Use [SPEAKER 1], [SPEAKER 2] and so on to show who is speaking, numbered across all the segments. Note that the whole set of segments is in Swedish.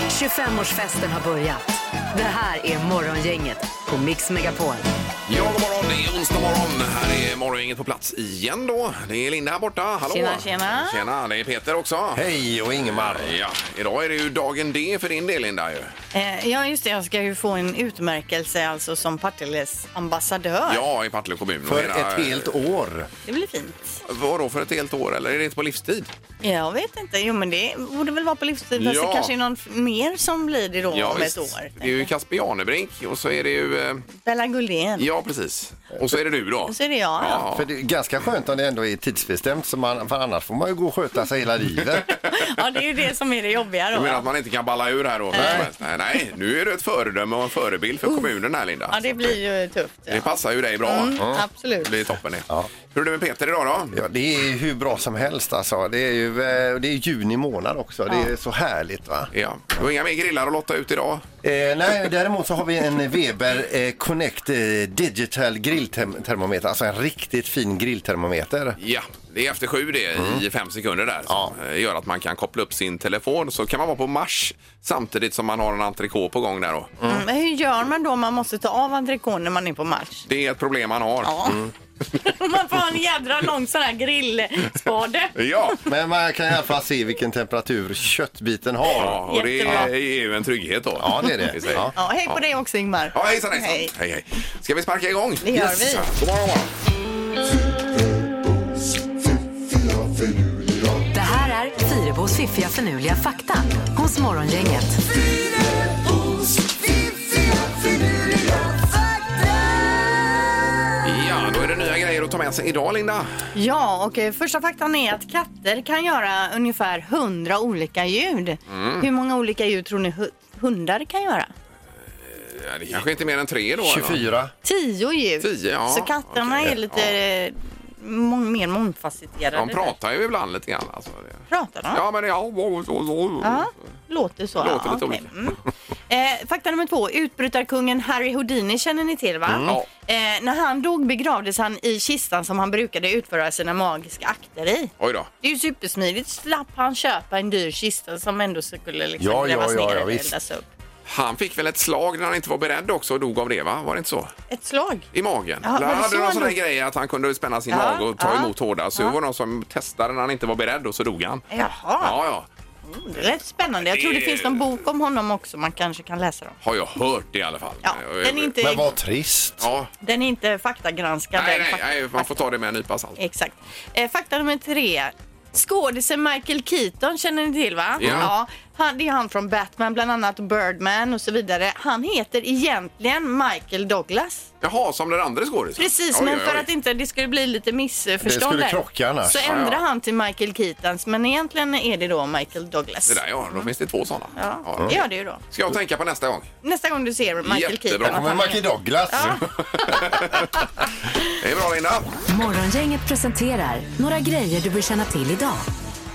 [SPEAKER 1] 25-årsfesten har börjat. Det här är Morgongänget på Mix Megapol.
[SPEAKER 2] Ja, god morgon. Det är onsdag morgon. Här är morgongänget på plats igen då. Det är Linda här borta. Hallå!
[SPEAKER 3] Tjena, tjena.
[SPEAKER 2] Tjena, det är Peter också.
[SPEAKER 4] Hej och Ingemar.
[SPEAKER 2] Ja, idag är det ju dagen D för din del Linda ju.
[SPEAKER 3] Eh, ja, just det. Jag ska ju få en utmärkelse alltså som Partilles ambassadör.
[SPEAKER 2] Ja, i Partille kommun.
[SPEAKER 4] För
[SPEAKER 2] Hela-
[SPEAKER 4] ett helt år.
[SPEAKER 3] Det blir fint.
[SPEAKER 2] Vadå för ett helt år eller är det inte på livstid?
[SPEAKER 3] Jag vet inte. Jo, men det borde väl vara på livstid. Fast
[SPEAKER 2] Ja.
[SPEAKER 3] det kanske är någon f- mer som blir det då om
[SPEAKER 2] visst.
[SPEAKER 3] ett år.
[SPEAKER 2] Det är ju Kasper Janebrink och så är det ju... eh,
[SPEAKER 3] Bella Gullén.
[SPEAKER 2] Ja, precis. Och så är det du då.
[SPEAKER 3] Och så är det jag.
[SPEAKER 2] Ja.
[SPEAKER 4] För det är ganska skönt om det ändå är tidsbestämt, så man, för annars får man ju gå och sköta sig hela livet.
[SPEAKER 3] Ja, det är ju det som är det jobbiga då.
[SPEAKER 2] Du menar att man inte kan balla ur här då? hur som helst? Nej, nej, nu är du ett föredöme och en förebild för kommunen här Linda.
[SPEAKER 3] Ja, det blir ju tufft.
[SPEAKER 2] Det
[SPEAKER 3] Ja.
[SPEAKER 2] passar ju dig bra.
[SPEAKER 3] Mm, absolut.
[SPEAKER 2] Det blir toppen det.
[SPEAKER 4] Ja.
[SPEAKER 2] Hur är det med Peter idag då?
[SPEAKER 4] Ja, det är ju hur bra som helst alltså. Det är ju eh, det är juni månad också. Det är så härligt va?
[SPEAKER 2] Ja. Du har inga mer grillar att lotta ut idag?
[SPEAKER 4] Eh, nej, däremot så har vi en Weber eh, Connect eh, Digital grilltermometer. Alltså en riktigt fin grilltermometer.
[SPEAKER 2] Ja, det är efter sju det i fem sekunder där.
[SPEAKER 4] Ja.
[SPEAKER 2] Som eh, gör att man kan koppla upp sin telefon. Så kan man vara på Mars samtidigt som man har en entrecote på gång där då.
[SPEAKER 3] Mm, men hur gör man då om man måste ta av entrecôten när man är på match?
[SPEAKER 2] Det är ett problem man har.
[SPEAKER 3] Ja. man får ha en jädra lång sån här grillspade.
[SPEAKER 2] Ja.
[SPEAKER 4] Men man kan i alla fall se vilken temperatur köttbiten har.
[SPEAKER 2] Ja, och det är,
[SPEAKER 3] Jättebra.
[SPEAKER 2] är ju en trygghet då.
[SPEAKER 4] Ja, det är det.
[SPEAKER 2] I sig.
[SPEAKER 4] Ja.
[SPEAKER 3] Ja, hej på dig också Ingmar.
[SPEAKER 2] Ja, hejsan, hejsan. Hej.
[SPEAKER 3] Hej.
[SPEAKER 2] Hej, Ska vi sparka igång?
[SPEAKER 3] Det gör vi.
[SPEAKER 2] God morgon, god morgon.
[SPEAKER 1] Det här är Fyrebos fiffiga förnuliga fakta hos Morgongänget.
[SPEAKER 2] Ja, då är det nya grejer att ta med sig idag, Linda.
[SPEAKER 3] Ja, och eh, första faktan är att katter kan göra ungefär 100 olika ljud.
[SPEAKER 2] Mm.
[SPEAKER 3] Hur många olika ljud tror ni hu- hundar kan göra?
[SPEAKER 2] Ja, det kanske inte är mer än tre då? eller?
[SPEAKER 4] 24.
[SPEAKER 3] Tio ljud.
[SPEAKER 2] Tio, ja,
[SPEAKER 3] Så katterna
[SPEAKER 2] okej,
[SPEAKER 3] är lite eh, mång, mer mångfacetterade.
[SPEAKER 2] De pratar ju ibland lite grann. Alltså.
[SPEAKER 3] Pratar de?
[SPEAKER 2] Ja, men ja... så- så- så.
[SPEAKER 3] Ja, låter så.
[SPEAKER 2] Låter lite
[SPEAKER 3] okej.
[SPEAKER 2] olika.
[SPEAKER 3] Mm. Eh, fakta nummer två. Utbrytarkungen Harry Houdini känner ni till va?
[SPEAKER 2] Mm. Ja.
[SPEAKER 3] Eh, när han dog begravdes han i kistan som han brukade utföra sina magiska akter i.
[SPEAKER 2] Oj då.
[SPEAKER 3] Det är ju supersmidigt. Slapp han köpa en dyr kista som ändå skulle liksom
[SPEAKER 4] Ja, ja,
[SPEAKER 3] grävas
[SPEAKER 4] ja,
[SPEAKER 3] ner
[SPEAKER 4] ja,
[SPEAKER 3] eller
[SPEAKER 4] visst.
[SPEAKER 3] eldas upp.
[SPEAKER 2] Han fick väl ett slag när han inte var beredd också och dog av det, va? Var det inte så?
[SPEAKER 3] Ett slag.
[SPEAKER 2] I magen.
[SPEAKER 3] Ja,
[SPEAKER 2] Där
[SPEAKER 3] var det
[SPEAKER 2] hade
[SPEAKER 3] så
[SPEAKER 2] någon
[SPEAKER 3] han
[SPEAKER 2] sån där
[SPEAKER 3] dog?
[SPEAKER 2] grej att han kunde spänna sin
[SPEAKER 3] Ja,
[SPEAKER 2] mage och ta
[SPEAKER 3] ja,
[SPEAKER 2] emot hårdare. Så det var någon som testade när han inte var beredd och så dog han.
[SPEAKER 3] Jaha,
[SPEAKER 2] Ja, ja.
[SPEAKER 3] det lät spännande. Jag tror det
[SPEAKER 2] Det-
[SPEAKER 3] finns någon bok om honom också. Man kanske kan läsa dem.
[SPEAKER 2] Har jag hört det i alla fall.
[SPEAKER 3] Ja,
[SPEAKER 2] Jag-
[SPEAKER 3] den är inte,
[SPEAKER 4] Men vad trist.
[SPEAKER 2] Ja.
[SPEAKER 3] den är inte faktagranskad.
[SPEAKER 2] Nej,
[SPEAKER 3] den
[SPEAKER 2] nej,
[SPEAKER 3] fakta-
[SPEAKER 2] nej, man får ta det med en nypa salt.
[SPEAKER 3] Exakt. Eh, fakta nummer tre. Skådisen Michael Keaton känner ni till va?
[SPEAKER 2] Ja.
[SPEAKER 3] han, det är han från Batman bland annat och Birdman och så vidare. Han heter egentligen Michael Douglas.
[SPEAKER 2] Jaha, som den andra skådisen?
[SPEAKER 3] Precis,
[SPEAKER 2] Oj,
[SPEAKER 3] men
[SPEAKER 2] oj, oj.
[SPEAKER 3] för att inte det skulle bli lite missförstånd
[SPEAKER 4] skulle
[SPEAKER 3] där,
[SPEAKER 4] krocka annars.
[SPEAKER 3] så
[SPEAKER 4] Ja,
[SPEAKER 2] ja.
[SPEAKER 3] ändrar han till Michael Keatons men egentligen är det då Michael Douglas.
[SPEAKER 2] Det där ja, då finns det två sådana.
[SPEAKER 3] Ja,
[SPEAKER 2] Ja.
[SPEAKER 3] det gör det ju då.
[SPEAKER 2] Ska jag tänka på nästa gång?
[SPEAKER 3] Nästa gång du ser Michael
[SPEAKER 2] Jättebra.
[SPEAKER 3] Keaton.
[SPEAKER 2] Då
[SPEAKER 3] att
[SPEAKER 2] kommer
[SPEAKER 4] Men
[SPEAKER 3] han
[SPEAKER 4] Michael
[SPEAKER 3] är-
[SPEAKER 4] Douglas.
[SPEAKER 2] Det är bra Linda.
[SPEAKER 1] Morgongänget presenterar några grejer du bör känna till idag.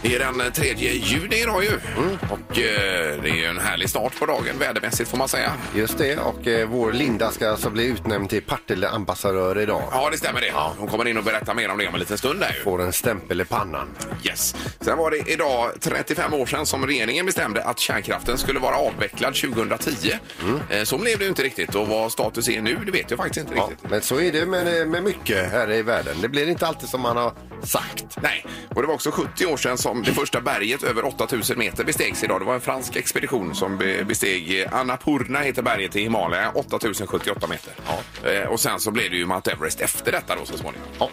[SPEAKER 2] Det är den 3 juni idag ju.
[SPEAKER 3] Mm.
[SPEAKER 2] Och eh, det är ju en härlig start på dagen vädermässigt får man säga.
[SPEAKER 4] Just det, och eh, vår Linda ska alltså bli utnämnd till Partille-ambassadör idag.
[SPEAKER 2] Ja, det stämmer det. Hon kommer in och berättar mer om det om en liten stund där ju.
[SPEAKER 4] Får en stämpel i pannan.
[SPEAKER 2] Yes. Sen var det idag 35 år sedan som regeringen bestämde att kärnkraften skulle vara avvecklad 2010. Eh, Så blev det ju inte riktigt och vad status är nu det vet jag faktiskt inte
[SPEAKER 4] Mm. Ja,
[SPEAKER 2] riktigt.
[SPEAKER 4] men så är det med, eh, med mycket här i världen. Det blir inte alltid som man har sagt.
[SPEAKER 2] Nej, och det var också 70 år sedan som det första berget över 8000 meter bestegs idag. Det var en fransk expedition som be- besteg eh, Annapurna heter berget i Himalaya, 8078 meter. Eh, Och sen så blev det ju Mount Everest efter detta då så småningom. Ja.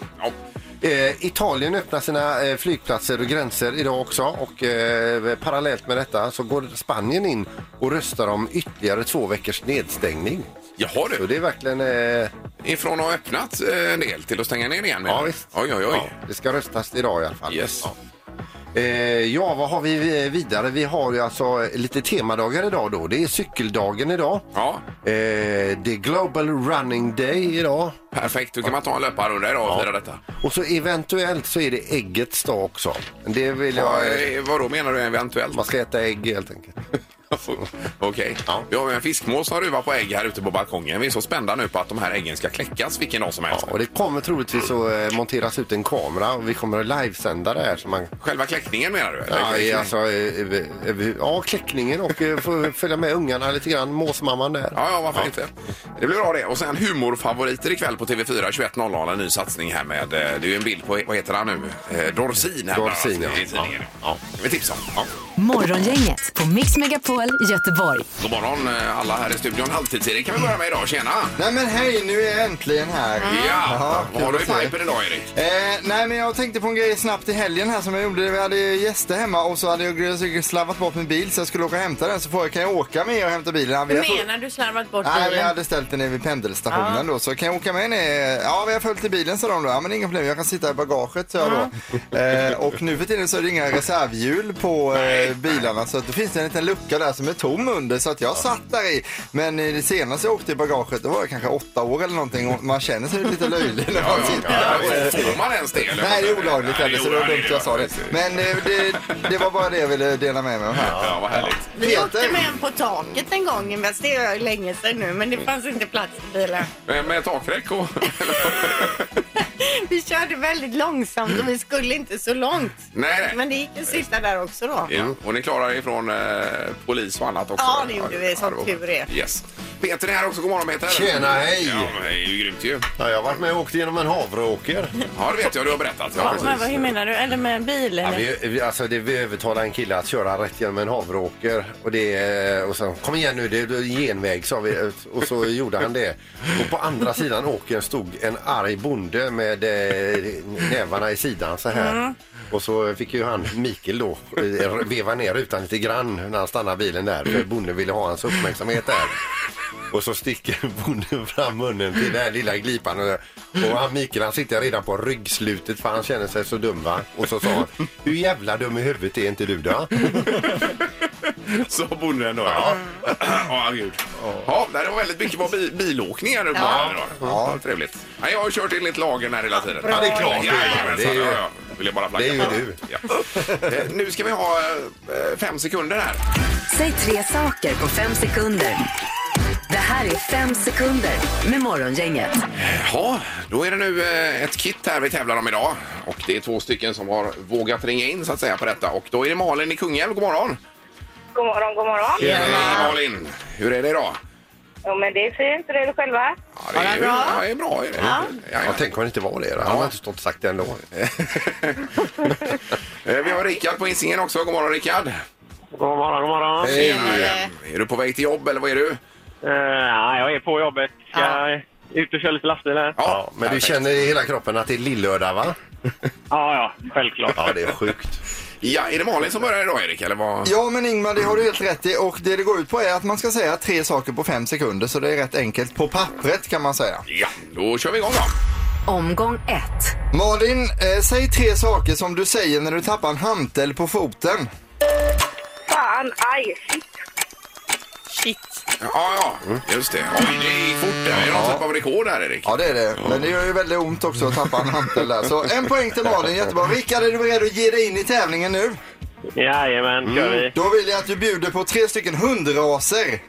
[SPEAKER 4] Eh, Italien öppnar sina eh, flygplatser och gränser idag också och eh, parallellt med detta så går Spanien in och röstar om ytterligare två veckors nedstängning.
[SPEAKER 2] Jaha
[SPEAKER 4] Så
[SPEAKER 2] du,
[SPEAKER 4] det är verkligen... Eh,
[SPEAKER 2] ifrån att ha öppnat eh, en del till att stänga ner igen. menar
[SPEAKER 4] ja,
[SPEAKER 2] du?
[SPEAKER 4] visst.
[SPEAKER 2] Oj, oj, oj.
[SPEAKER 4] Ja, det ska röstas idag i alla fall.
[SPEAKER 2] Yes.
[SPEAKER 4] Ja. Eh, ja, vad har vi vidare? Vi har ju alltså lite temadagar idag då. Det är cykeldagen idag.
[SPEAKER 2] Ja.
[SPEAKER 4] Eh, det är Global Running Day idag.
[SPEAKER 2] Perfekt, då kan man ta en löparrunda idag och fira detta.
[SPEAKER 4] Och så eventuellt så är det äggets dag också. Men Det vill jag...
[SPEAKER 2] Eh, Vad då eh, menar du eventuellt?
[SPEAKER 4] Man ska äta ägg helt enkelt.
[SPEAKER 2] Okej. Vi har ju en fiskmås som ruvar på ägg här ute på balkongen. Vi är så spända nu på att de här äggen ska kläckas vilken dag som helst.
[SPEAKER 4] Och det kommer troligtvis att eh, monteras ut en kamera och vi kommer att livesända det här. Så man...
[SPEAKER 2] Själva kläckningen menar du? eller?
[SPEAKER 4] Ja, eh, alltså, eh, eh, eh, ja, kläckningen och eh, få följa med ungarna lite grann, måsmamman där.
[SPEAKER 2] Ja, ja, varför inte? Det blir bra det. Och sen humorfavoriter ikväll på TV4 21.00. En ny satsning här med, eh, det är ju en bild på, vad heter han nu? Eh, Dorsin. Här
[SPEAKER 4] Dorsin,
[SPEAKER 2] bland annat,
[SPEAKER 4] ja.
[SPEAKER 2] i tidningen.
[SPEAKER 4] Ja.
[SPEAKER 2] Det vill tipsa om. Ja.
[SPEAKER 1] Morgongänget på Mix Megapol Göteborg.
[SPEAKER 2] God morgon eh, alla här i studion. Halvtids-Erik kan vi börja med idag. Tjena!
[SPEAKER 5] Nej men hej, nu är jag äntligen här.
[SPEAKER 2] Ja, vad
[SPEAKER 5] kul
[SPEAKER 2] har du i
[SPEAKER 5] att se.
[SPEAKER 2] pipen idag Erik?
[SPEAKER 5] Eh, nej men jag tänkte på en grej snabbt i helgen här som jag gjorde. Vi hade ju gäster hemma och så hade jag säkert slarvat bort min bil så jag skulle åka och hämta den. Så får jag, kan jag åka med och hämta bilen? Vi har full-
[SPEAKER 6] Menar du slarvat bort
[SPEAKER 5] Nej, vi
[SPEAKER 6] bilen?
[SPEAKER 5] hade ställt den nere vid pendelstationen då. Så kan jag åka med ner? Ja, vi har följt i bilen sa de då. Ja, men inga problem. Jag kan sitta i bagaget sa jag då. eh, och nu för tiden så är det inga reservhjul på eh, bilarna. Så att det finns en liten lucka där som är tom under. Så att jag satt där i. Men eh, det senaste jag åkte i bagaget, då var jag kanske åtta år eller någonting. Och man känner sig lite löjlig när man sitter där.
[SPEAKER 2] Får man ens det? eller?
[SPEAKER 5] Nej, det är olagligt.
[SPEAKER 2] Nej,
[SPEAKER 5] Eller, så det var
[SPEAKER 2] olagligt,
[SPEAKER 5] dumt jag sa det.
[SPEAKER 2] precis.
[SPEAKER 5] Men eh, det, det var bara det jag ville dela med mig av här.
[SPEAKER 2] Ja, vad härligt.
[SPEAKER 3] Vi åkte
[SPEAKER 5] Peter.
[SPEAKER 3] med en på taket en gång, men det är länge sedan nu, men det fanns inte plats i bilen.
[SPEAKER 2] Eh, Med takräck och...
[SPEAKER 3] Vi körde väldigt långsamt och vi skulle inte så långt.
[SPEAKER 2] Nej, nej.
[SPEAKER 3] Men det gick att sitta där också då.
[SPEAKER 2] Ja, och ni klarar er från eh, polis och annat också?
[SPEAKER 3] Ja, det gjorde vi, som
[SPEAKER 2] det var-
[SPEAKER 3] tur är.
[SPEAKER 2] Yes. Peter är här också. God morgon, Peter.
[SPEAKER 4] Tjena, hej.
[SPEAKER 2] Ja, men det är ju grymt ju.
[SPEAKER 4] Ja, jag har varit med och åkt genom en havreåker.
[SPEAKER 2] Ja, det vet jag. Du har berättat. Ja,
[SPEAKER 6] Ja, men vad, hur menar du? Eller med en bil?
[SPEAKER 4] Ja,
[SPEAKER 6] Eller?
[SPEAKER 4] vi, vi, alltså det, vi övertalade en kille att köra rätt genom en havreåker. Och, det, eh, och sen, kom igen nu, det är genväg sa vi. Och så gjorde han det. Och på andra sidan åkern stod en arg bonde med eh, nävarna i sidan så här.
[SPEAKER 5] Mm.
[SPEAKER 4] Och så fick ju han, Mikael då, eh, veva ner rutan lite grann när han stannade bilen där. För bonden ville ha hans uppmärksamhet där. Och så sticker bonden fram munnen till den här lilla glipan. Och och han Mikael han sitter redan på ryggslutet för han känner sig så dum va. Och så sa han, hur jävla dum i huvudet är inte du då?
[SPEAKER 2] Så bonden då, ja.
[SPEAKER 4] Mm.
[SPEAKER 2] Ja, gud. Ja, det var väldigt mycket bra bi- bilåkningar uppe här idag. Ja, trevligt. Nej, jag har kört in lite lagen här hela tiden.
[SPEAKER 4] Ja, det är klart.
[SPEAKER 2] Jajamensan,
[SPEAKER 4] Det är ju-
[SPEAKER 2] ja, ja. Vill jag bara flagga
[SPEAKER 4] det är ju
[SPEAKER 2] för.
[SPEAKER 4] du.
[SPEAKER 2] Ja. Eh, Nu ska vi ha eh, fem sekunder här.
[SPEAKER 1] Säg tre saker på fem sekunder. Det här är fem sekunder med Morgongänget.
[SPEAKER 2] Ja, då är det nu eh, ett kit här vi tävlar om idag. Och det är två stycken som har vågat ringa in så att säga på detta. Och då är det Malin i Kungälv. God morgon!
[SPEAKER 7] God morgon, god morgon.
[SPEAKER 2] Hej Malin! Hur är det idag?
[SPEAKER 7] Jo, men det är fint. Hur är det själva?
[SPEAKER 2] Ja, det är bra. Ja, det är bra. Är det? Ja. Ja,
[SPEAKER 4] Ja, tänk om det inte var det då. Han har inte stått och sagt det ändå.
[SPEAKER 2] Eh, Vi har Rickard på Hisingen också. God morgon Rickard!
[SPEAKER 8] God morgon, god morgon.
[SPEAKER 4] Hej.
[SPEAKER 2] Eh, Är du på väg till jobb eller vad är du?
[SPEAKER 8] Eh, ja, jag är på jobbet. Ska ut och köra lite lastbil här.
[SPEAKER 4] Ja, men du
[SPEAKER 2] perfekt.
[SPEAKER 4] känner i hela kroppen att det är lillördag va?
[SPEAKER 8] Ja, ja, självklart.
[SPEAKER 4] Ja, det är sjukt.
[SPEAKER 2] Ja, är det Malin som börjar idag Erik? Eller vad?
[SPEAKER 5] Ja men Ingmar, det har du helt rätt i och det det går ut på är att man ska säga tre saker på fem sekunder så det är rätt enkelt på pappret kan man säga.
[SPEAKER 2] Ja, då kör vi igång då.
[SPEAKER 1] Omgång ett.
[SPEAKER 5] Malin, eh, säg tre saker som du säger när du tappar en hantel på foten.
[SPEAKER 7] Fan, aj, shit.
[SPEAKER 2] Ja, ja, just det. Oj, det gick fort där. Är det någon typ av rekord här Erik?
[SPEAKER 5] Ja det är det, men det gör ju väldigt ont också att tappa en hantel där. Så en poäng till Malin, jättebra. Rickard, är du beredd att ge dig in i tävlingen nu?
[SPEAKER 8] Jajamän, kör vi.
[SPEAKER 5] Då vill jag att du bjuder på tre stycken hundraser.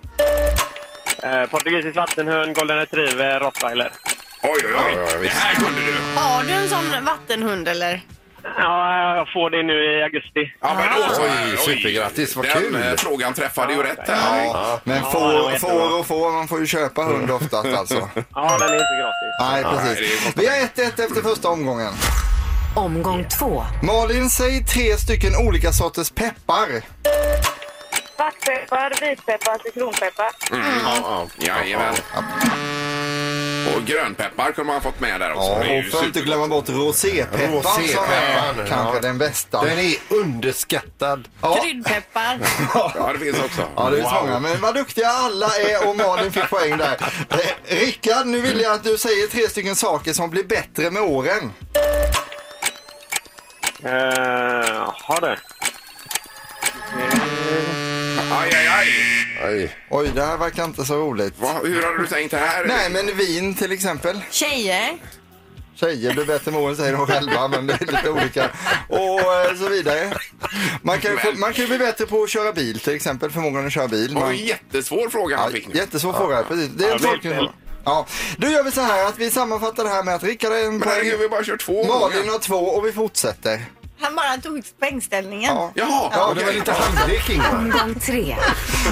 [SPEAKER 4] Mm.
[SPEAKER 8] Eh, portugisisk vattenhund, golden retriever, rottweiler.
[SPEAKER 2] Oj, oj, oj. Det här kunde du.
[SPEAKER 3] Har du en sån vattenhund eller?
[SPEAKER 8] Ja, jag får det nu i augusti.
[SPEAKER 2] Ja, men då så.
[SPEAKER 4] Oj, supergrattis, vad
[SPEAKER 2] Den
[SPEAKER 4] kul.
[SPEAKER 2] eh, frågan träffade ju rätt här. Erik.
[SPEAKER 5] Ja, men
[SPEAKER 8] Ja, det var
[SPEAKER 5] får,
[SPEAKER 8] jättebra.
[SPEAKER 5] får och får, man får ju köpa hund oftast alltså.
[SPEAKER 8] Ja, den är inte gratis.
[SPEAKER 5] Nej,
[SPEAKER 2] det är
[SPEAKER 5] precis. Vi har 1-1 efter första omgången.
[SPEAKER 1] Omgång två.
[SPEAKER 5] Malin, säg tre stycken olika sorters peppar.
[SPEAKER 7] Svartpeppar, vitpeppar, citronpeppar.
[SPEAKER 2] Mm, Ja, ja. Jajamän. Och grönpeppar kunde man ha fått med där också.
[SPEAKER 5] Ja,
[SPEAKER 2] Det är ju
[SPEAKER 5] och för att inte
[SPEAKER 2] super-
[SPEAKER 5] glömma bort rosépeppar som
[SPEAKER 4] Rosépeppar,
[SPEAKER 5] är
[SPEAKER 4] ja.
[SPEAKER 5] kanske den bästa.
[SPEAKER 4] Den är underskattad.
[SPEAKER 5] Ja.
[SPEAKER 3] Kryddpeppar.
[SPEAKER 2] Ja, det finns också.
[SPEAKER 5] Ja, det är så många. Men vad duktiga alla är och Malin fick poäng där. Eh, Rickard, nu vill jag att du säger tre stycken saker som blir bättre med åren.
[SPEAKER 8] Eh, ha det.
[SPEAKER 2] Aj, aj, aj.
[SPEAKER 4] Oj.
[SPEAKER 5] Oj, det här verkar inte så roligt.
[SPEAKER 2] Va? Hur hade du tänkt det här?
[SPEAKER 5] Nej, men vin till exempel.
[SPEAKER 3] Tjejer.
[SPEAKER 5] Tjejer blir bättre med åren säger de själva, men det är lite olika. Och eh, så vidare. Man kan, ju få, man kan ju bli bättre på att köra bil till exempel, förmågan att köra bil.
[SPEAKER 2] Det var
[SPEAKER 5] Man,
[SPEAKER 2] en jättesvår fråga han
[SPEAKER 5] ja,
[SPEAKER 2] fick nu.
[SPEAKER 5] jättesvår fråga, precis. Det är en
[SPEAKER 8] Ja,
[SPEAKER 5] tolkningsfråga.
[SPEAKER 8] bil.
[SPEAKER 5] Ja, då gör vi så här att vi sammanfattar det här med att Rickard är en
[SPEAKER 2] Men herregud,
[SPEAKER 5] poäng,
[SPEAKER 2] vi har bara kört två
[SPEAKER 5] Malin
[SPEAKER 2] gånger.
[SPEAKER 5] har två och vi fortsätter.
[SPEAKER 3] Han bara tog poängställningen.
[SPEAKER 5] Ja.
[SPEAKER 2] Jaha,
[SPEAKER 5] Ja,
[SPEAKER 4] Det var
[SPEAKER 2] okej.
[SPEAKER 4] lite halvlek Ingmar.
[SPEAKER 1] Omgång tre.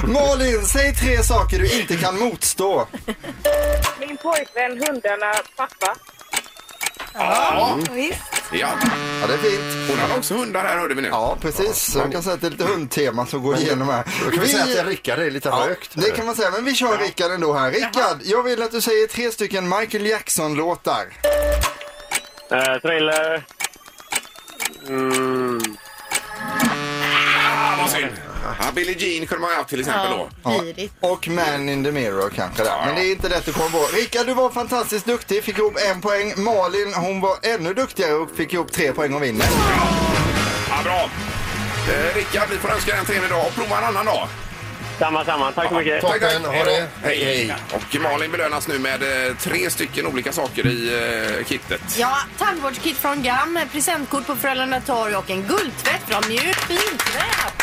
[SPEAKER 5] Malin, säg tre saker du inte kan motstå.
[SPEAKER 7] Min pojkvän, hundarna, pappa.
[SPEAKER 5] Mm.
[SPEAKER 3] Visst.
[SPEAKER 2] Ja,
[SPEAKER 5] Ja, det är fint.
[SPEAKER 2] hon hade också hundar här hörde vi nu.
[SPEAKER 5] Ja, precis. Så man kan säga att det är lite hundtema som går igenom här.
[SPEAKER 4] Då kan vi säga att Rickard är lite
[SPEAKER 5] Ja,
[SPEAKER 4] rökt.
[SPEAKER 5] det kan man säga, men vi kör Rickard ändå här. Rickard, jag vill att du säger tre stycken Michael Jackson-låtar.
[SPEAKER 8] Eh, thriller. Mm.
[SPEAKER 2] Ah, vad synd. Ja, Billie Jean kunde man ju haft till exempel då.
[SPEAKER 5] Ja.
[SPEAKER 3] Girigt.
[SPEAKER 5] Och Man in the Mirror kanske där. Men det är inte lätt att komma på. Rickard, du var fantastiskt duktig, fick ihop en poäng. Malin, hon var ännu duktigare och fick ihop tre poäng och vinner.
[SPEAKER 2] Ja, bra. Eh, Rickard, vi får önska dig en trevlig dag och prova en annan dag.
[SPEAKER 8] Samma, samma. Tack så mycket.
[SPEAKER 4] Toppen, ha det.
[SPEAKER 2] Hej, hej. Och Malin belönas nu med eh, tre stycken olika saker i eh, kittet.
[SPEAKER 3] Ja, tandvårdskit från GAM, presentkort på Frölunda torg och en guldtvätt från Mjuk Fintvätt.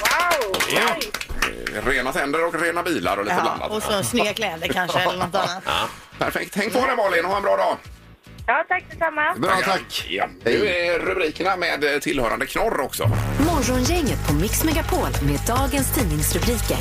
[SPEAKER 7] Wow!
[SPEAKER 2] Ja.
[SPEAKER 7] Nice.
[SPEAKER 2] Eh, Rena tänder och rena bilar och lite
[SPEAKER 3] Ja,
[SPEAKER 2] blandat.
[SPEAKER 3] och så snygga kläder kanske eller något annat.
[SPEAKER 2] Perfekt. Häng på dig Malin och ha en bra dag.
[SPEAKER 7] Ja, tack detsamma.
[SPEAKER 5] Bra, tack.
[SPEAKER 2] Ja. Nu är rubrikerna med eh, tillhörande knorr också.
[SPEAKER 1] Morgongänget på Mix Megapol med dagens tidningsrubriker.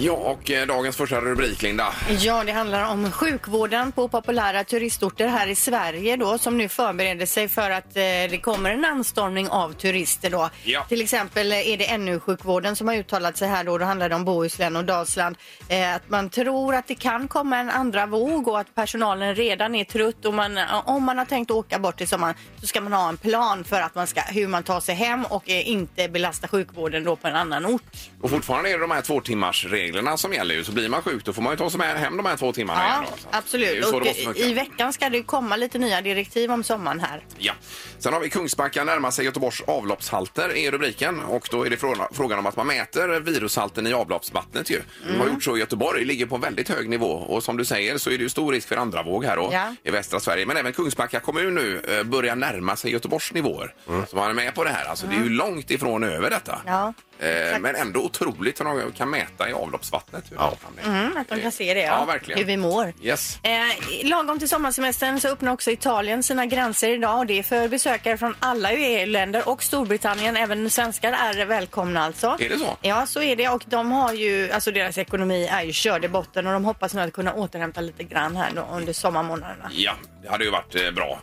[SPEAKER 2] Ja, och eh, dagens första rubrik, Linda.
[SPEAKER 3] Ja, det handlar om sjukvården på populära turistorter här i Sverige då som nu förbereder sig för att eh, det kommer en anstormning av turister då.
[SPEAKER 2] Ja.
[SPEAKER 3] Till exempel eh, är det ännu sjukvården som har uttalat sig här då. Då handlar det om Bohuslän och Dalsland. Eh, att man tror att det kan komma en andra våg och att personalen redan är trött och man, eh, om man har tänkt åka bort i sommar så ska man ha en plan för att man ska, hur man tar sig hem och eh, inte belasta sjukvården då på en annan ort.
[SPEAKER 2] Och fortfarande är det de här två timmars reglerna som gäller ju. Så blir man sjuk då får man ju ta sig med hem de här två timmarna
[SPEAKER 3] Ja,
[SPEAKER 2] igen. Då. Så att Det är ju
[SPEAKER 3] absolut.
[SPEAKER 2] så det
[SPEAKER 3] Och
[SPEAKER 2] måste funka.
[SPEAKER 3] i veckan ska det komma lite nya direktiv om sommaren här.
[SPEAKER 2] Ja. Sen har vi Kungsbacka närmar sig Göteborgs avloppshalter är rubriken. Och då är det frå- frågan om att man mäter virushalten i avloppsvattnet ju. De
[SPEAKER 3] Mm.
[SPEAKER 2] har gjort så i Göteborg, ligger på en väldigt hög nivå. Och som du säger så är det ju stor risk för andra våg här då,
[SPEAKER 3] Ja.
[SPEAKER 2] i västra Sverige. Men även Kungsbacka kommun nu eh, börjar närma sig Göteborgs nivåer. Så man är med på det här. Alltså det är ju långt ifrån över detta.
[SPEAKER 3] Mm. Ja,
[SPEAKER 2] Eh, men ändå otroligt hur de kan mäta i avloppsvattnet. hur bra fan det är.
[SPEAKER 3] Mm, att de kan se det,
[SPEAKER 2] Ja, verkligen.
[SPEAKER 3] hur vi mår.
[SPEAKER 2] Yes.
[SPEAKER 3] Eh, lagom till sommarsemestern så öppnar också Italien sina gränser idag och det är för besökare från alla EU-länder och Storbritannien. Även svenskar är välkomna alltså.
[SPEAKER 2] Är det så?
[SPEAKER 3] Ja, så är det och de har ju, alltså deras ekonomi är ju körd i botten och de hoppas nu att kunna återhämta lite grann här då under sommarmånaderna.
[SPEAKER 2] Ja, det hade ju varit eh, bra.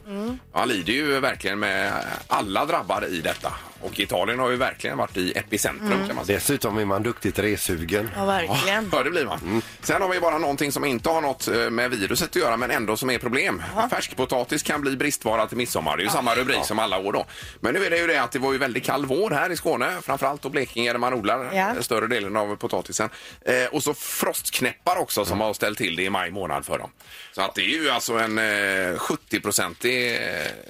[SPEAKER 2] Han lider ju verkligen med alla drabbade i detta. Och Italien har ju verkligen varit i epicentrum kan man säga.
[SPEAKER 4] Dessutom är man duktigt resugen.
[SPEAKER 3] Ja, verkligen. Mm.
[SPEAKER 2] Ja, det blir man. Sen har vi bara någonting som inte har något eh, med viruset att göra men ändå som är problem. Färskpotatis kan bli bristvara till midsommar. Det är ju samma rubrik som alla år då. Men nu är det ju det att det var ju väldigt kall vår här i Skåne, framförallt och Blekinge där man odlar
[SPEAKER 3] Ja.
[SPEAKER 2] eh, större delen av potatisen. Eh, och så frostknäppar också som
[SPEAKER 3] Mm.
[SPEAKER 2] har ställt till det i maj månad för dem. Så att det är ju alltså en eh, 70-procentig eh,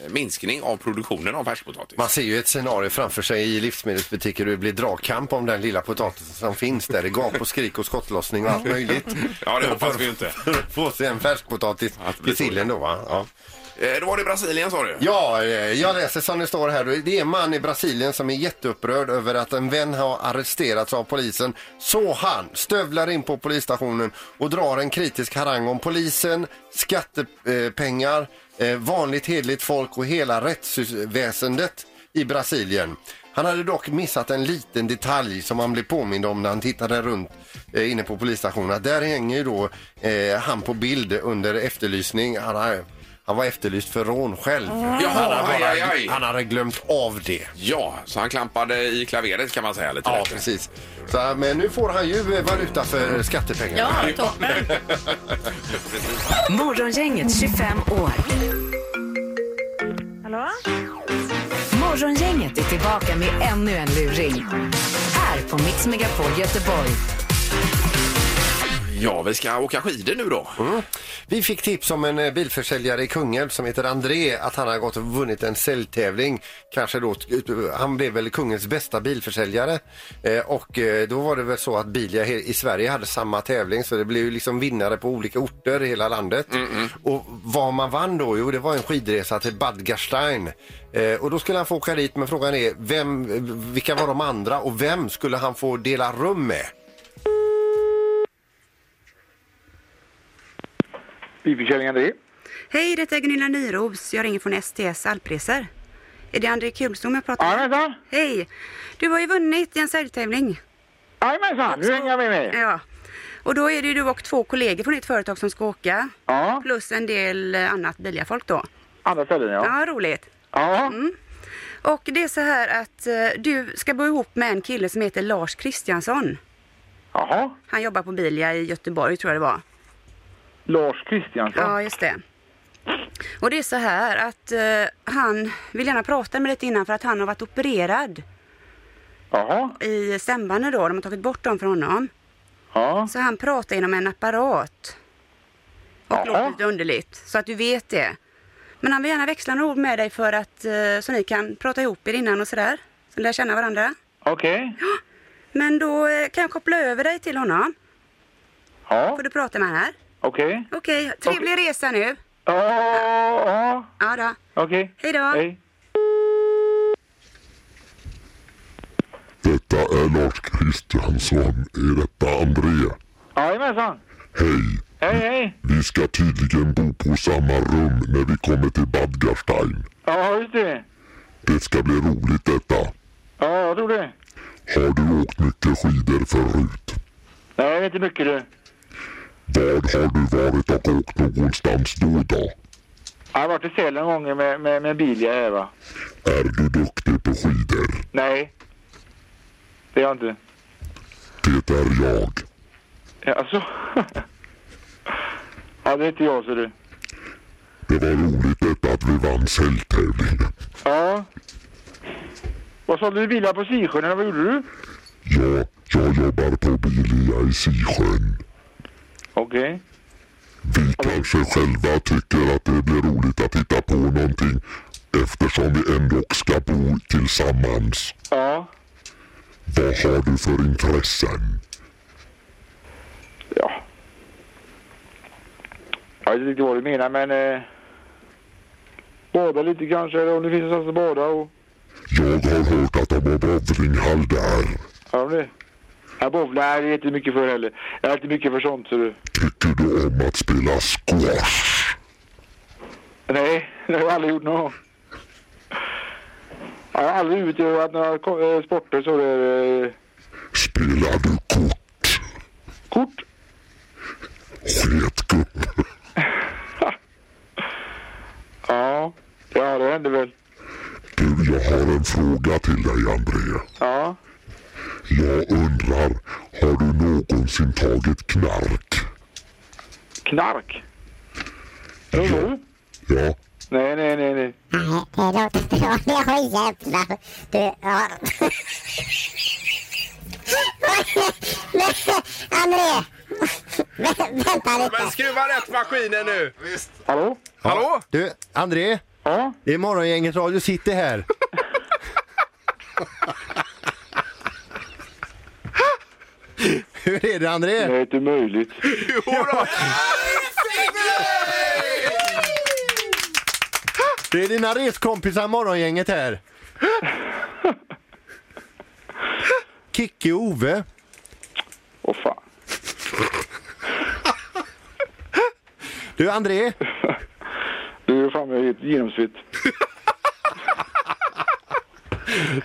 [SPEAKER 2] minskning av produktionen av färskpotatis.
[SPEAKER 4] Man ser ju ett scenario framför sig i livsmedelsbutiker hur det blir dragkamp om den lilla potatisen som finns där. Det gap och skrik och skottlossning och allt möjligt.
[SPEAKER 2] Ja, det hoppas vi ju inte.
[SPEAKER 4] Få sig en färskpotatis
[SPEAKER 2] Ja, det blir
[SPEAKER 4] till sillen då va? Ja.
[SPEAKER 2] Eh, då var det Brasilien sa du?
[SPEAKER 4] Ja, eh, jag läser som det står här. Det är en man i Brasilien som är jätteupprörd över att en vän har arresterats av polisen. Så han stövlar in på polisstationen och drar en kritisk harang om polisen, skattepengar, eh, vanligt hederligt folk och hela rättsväsendet i Brasilien. Han hade dock missat en liten detalj som han blev påmind om när han tittade runt eh, inne på polisstationen. Där hänger ju då eh, han på bild under efterlysning. Han har han var efterlyst för rån själv.
[SPEAKER 2] Jaha,
[SPEAKER 4] han, hade
[SPEAKER 2] aj, aj, aj.
[SPEAKER 4] han hade glömt av det.
[SPEAKER 2] Ja, så han klampade i klaveret kan man säga lite
[SPEAKER 4] Ja,
[SPEAKER 2] lätt.
[SPEAKER 4] precis. Så, här, men nu får han ju eh, valuta för skattepengarna.
[SPEAKER 6] Ja, toppen.
[SPEAKER 1] Morgongänget 25 år.
[SPEAKER 7] Hallå?
[SPEAKER 1] Morgongänget är tillbaka med ännu en luring. Här på Mix Megapol Göteborg.
[SPEAKER 2] Ja, vi ska åka skidor nu då.
[SPEAKER 4] Vi fick tips om en eh, bilförsäljare i Kungälv som heter André att han har gått och vunnit en säljtävling. Kanske då, han blev väl kungens bästa bilförsäljare eh, och eh, då var det väl så att Bilia he- i Sverige hade samma tävling så det blev ju liksom vinnare på olika orter i hela landet. Och vad man vann då? Jo, det var en skidresa till Badgastein. Eh, och då skulle han få åka dit men frågan är vem, vilka var de andra och vem skulle han få dela rum med?
[SPEAKER 9] Bilförsäljning André.
[SPEAKER 10] Hej, det är Gunilla Nyros. Jag ringer från STS Alpresor. Är det André Kulstom jag pratar med?
[SPEAKER 9] Jajamensan!
[SPEAKER 10] Hej! Du har ju vunnit i en säljtävling.
[SPEAKER 9] Jajamensan! Nu hänger jag med mig.
[SPEAKER 10] Ja. Och då är det ju du och två kollegor från ditt företag som ska åka.
[SPEAKER 9] Ja,
[SPEAKER 10] Plus en del eh, annat billiga folk då.
[SPEAKER 9] andra ställen ja.
[SPEAKER 10] Ja, roligt. Mm.
[SPEAKER 9] Ja,
[SPEAKER 10] Och det är så här att eh, du ska bo ihop med en kille som heter Lars Kristiansson.
[SPEAKER 9] jaha.
[SPEAKER 10] Han jobbar på Bilia i Göteborg tror jag det var.
[SPEAKER 9] Lars Kristiansson.
[SPEAKER 10] Ja, just det. Och det är så här att eh, han vill gärna prata med dig lite innan för att han har varit opererad.
[SPEAKER 9] Jaha,
[SPEAKER 10] i stämbanden då, de har tagit bort dem från honom.
[SPEAKER 9] ja.
[SPEAKER 10] Så han pratar genom en apparat. Och
[SPEAKER 9] Jaha.
[SPEAKER 10] låter lite underligt, så att du vet det. Men han vill gärna växla några ord med dig för att, eh, så ni kan prata ihop er innan och sådär. Så ni lär känna varandra.
[SPEAKER 9] Okej.
[SPEAKER 10] Men då eh, kan jag koppla över dig till honom.
[SPEAKER 9] Ja,
[SPEAKER 10] Får du prata med honom här.
[SPEAKER 9] okej.
[SPEAKER 10] Okej, trevlig resa nu.
[SPEAKER 9] Ja, ja,
[SPEAKER 10] Ja då.
[SPEAKER 9] okej.
[SPEAKER 10] Hej då.
[SPEAKER 9] Hej.
[SPEAKER 11] Detta är Lars Kristiansson. Är detta André?
[SPEAKER 9] Jajamensan!
[SPEAKER 11] Hej!
[SPEAKER 9] Hej, hej!
[SPEAKER 11] Vi ska tydligen bo på samma rum när vi kommer till Badgarstein.
[SPEAKER 9] Ja, just det.
[SPEAKER 11] Det ska bli roligt detta.
[SPEAKER 9] Ja, jag tror det.
[SPEAKER 11] Har du åkt mycket skidor förut?
[SPEAKER 9] Nej, inte mycket du.
[SPEAKER 11] Vad har du varit och åkt någonstans då då?
[SPEAKER 9] Jag har varit i Sälen en gång med, med, med Bilia här va.
[SPEAKER 11] Är du duktig på skidor?
[SPEAKER 9] Nej. Det är jag inte.
[SPEAKER 11] Det är jag.
[SPEAKER 9] Ja, Alltså. ja, det är inte jag ser du.
[SPEAKER 11] Det var roligt detta att vi vann säljtävlingen.
[SPEAKER 9] Ja. Vad sålde du bilar på Sisjön eller vad gjorde du?
[SPEAKER 11] Ja, jag jobbar på Bilia i Sisjön.
[SPEAKER 9] Okej.
[SPEAKER 11] Vi kanske själva tycker att det blir roligt att hitta på någonting eftersom vi ändå ska bo tillsammans.
[SPEAKER 9] Ja.
[SPEAKER 11] Vad har du för intressen?
[SPEAKER 9] Ja. Jag vet inte riktigt vad du menar men... Eh, bada lite kanske eller om det finns någonstans att bada och...
[SPEAKER 11] Jag har hört att de har bowlinghall där.
[SPEAKER 9] Ja, det. Jag bowlar är inte mycket för heller. Jag är inte mycket för sånt ser du.
[SPEAKER 11] Tycker du om att spela squash?
[SPEAKER 9] Nej, det har jag aldrig gjort någon gång. Jag har aldrig utövat några ko- eh, sporter så det... är, eh,
[SPEAKER 11] Spelar du kort?
[SPEAKER 9] Kort?
[SPEAKER 11] Sketgubb?
[SPEAKER 9] Ja. Ja, det händer väl.
[SPEAKER 11] Du, jag har en fråga till dig André.
[SPEAKER 9] Ja.
[SPEAKER 11] Jag undrar, har du någonsin tagit knark?
[SPEAKER 9] Knark? Tror du?
[SPEAKER 11] Ja,
[SPEAKER 9] Nej, nej, nej, nej.
[SPEAKER 2] Men skruva rätt maskinen nu!
[SPEAKER 9] Hallå?
[SPEAKER 2] Hallå?
[SPEAKER 4] Du, André?
[SPEAKER 9] Ja?
[SPEAKER 4] Det är Morgongänget Radio City här. Hur är det
[SPEAKER 9] Det
[SPEAKER 4] André?
[SPEAKER 9] är inte möjligt.
[SPEAKER 2] Jodå!
[SPEAKER 4] Det är dina reskompisar Morgongänget här. Kicke och Ove.
[SPEAKER 9] Åh fan.
[SPEAKER 4] Du André,
[SPEAKER 9] Du är fan jag är helt genomsvett.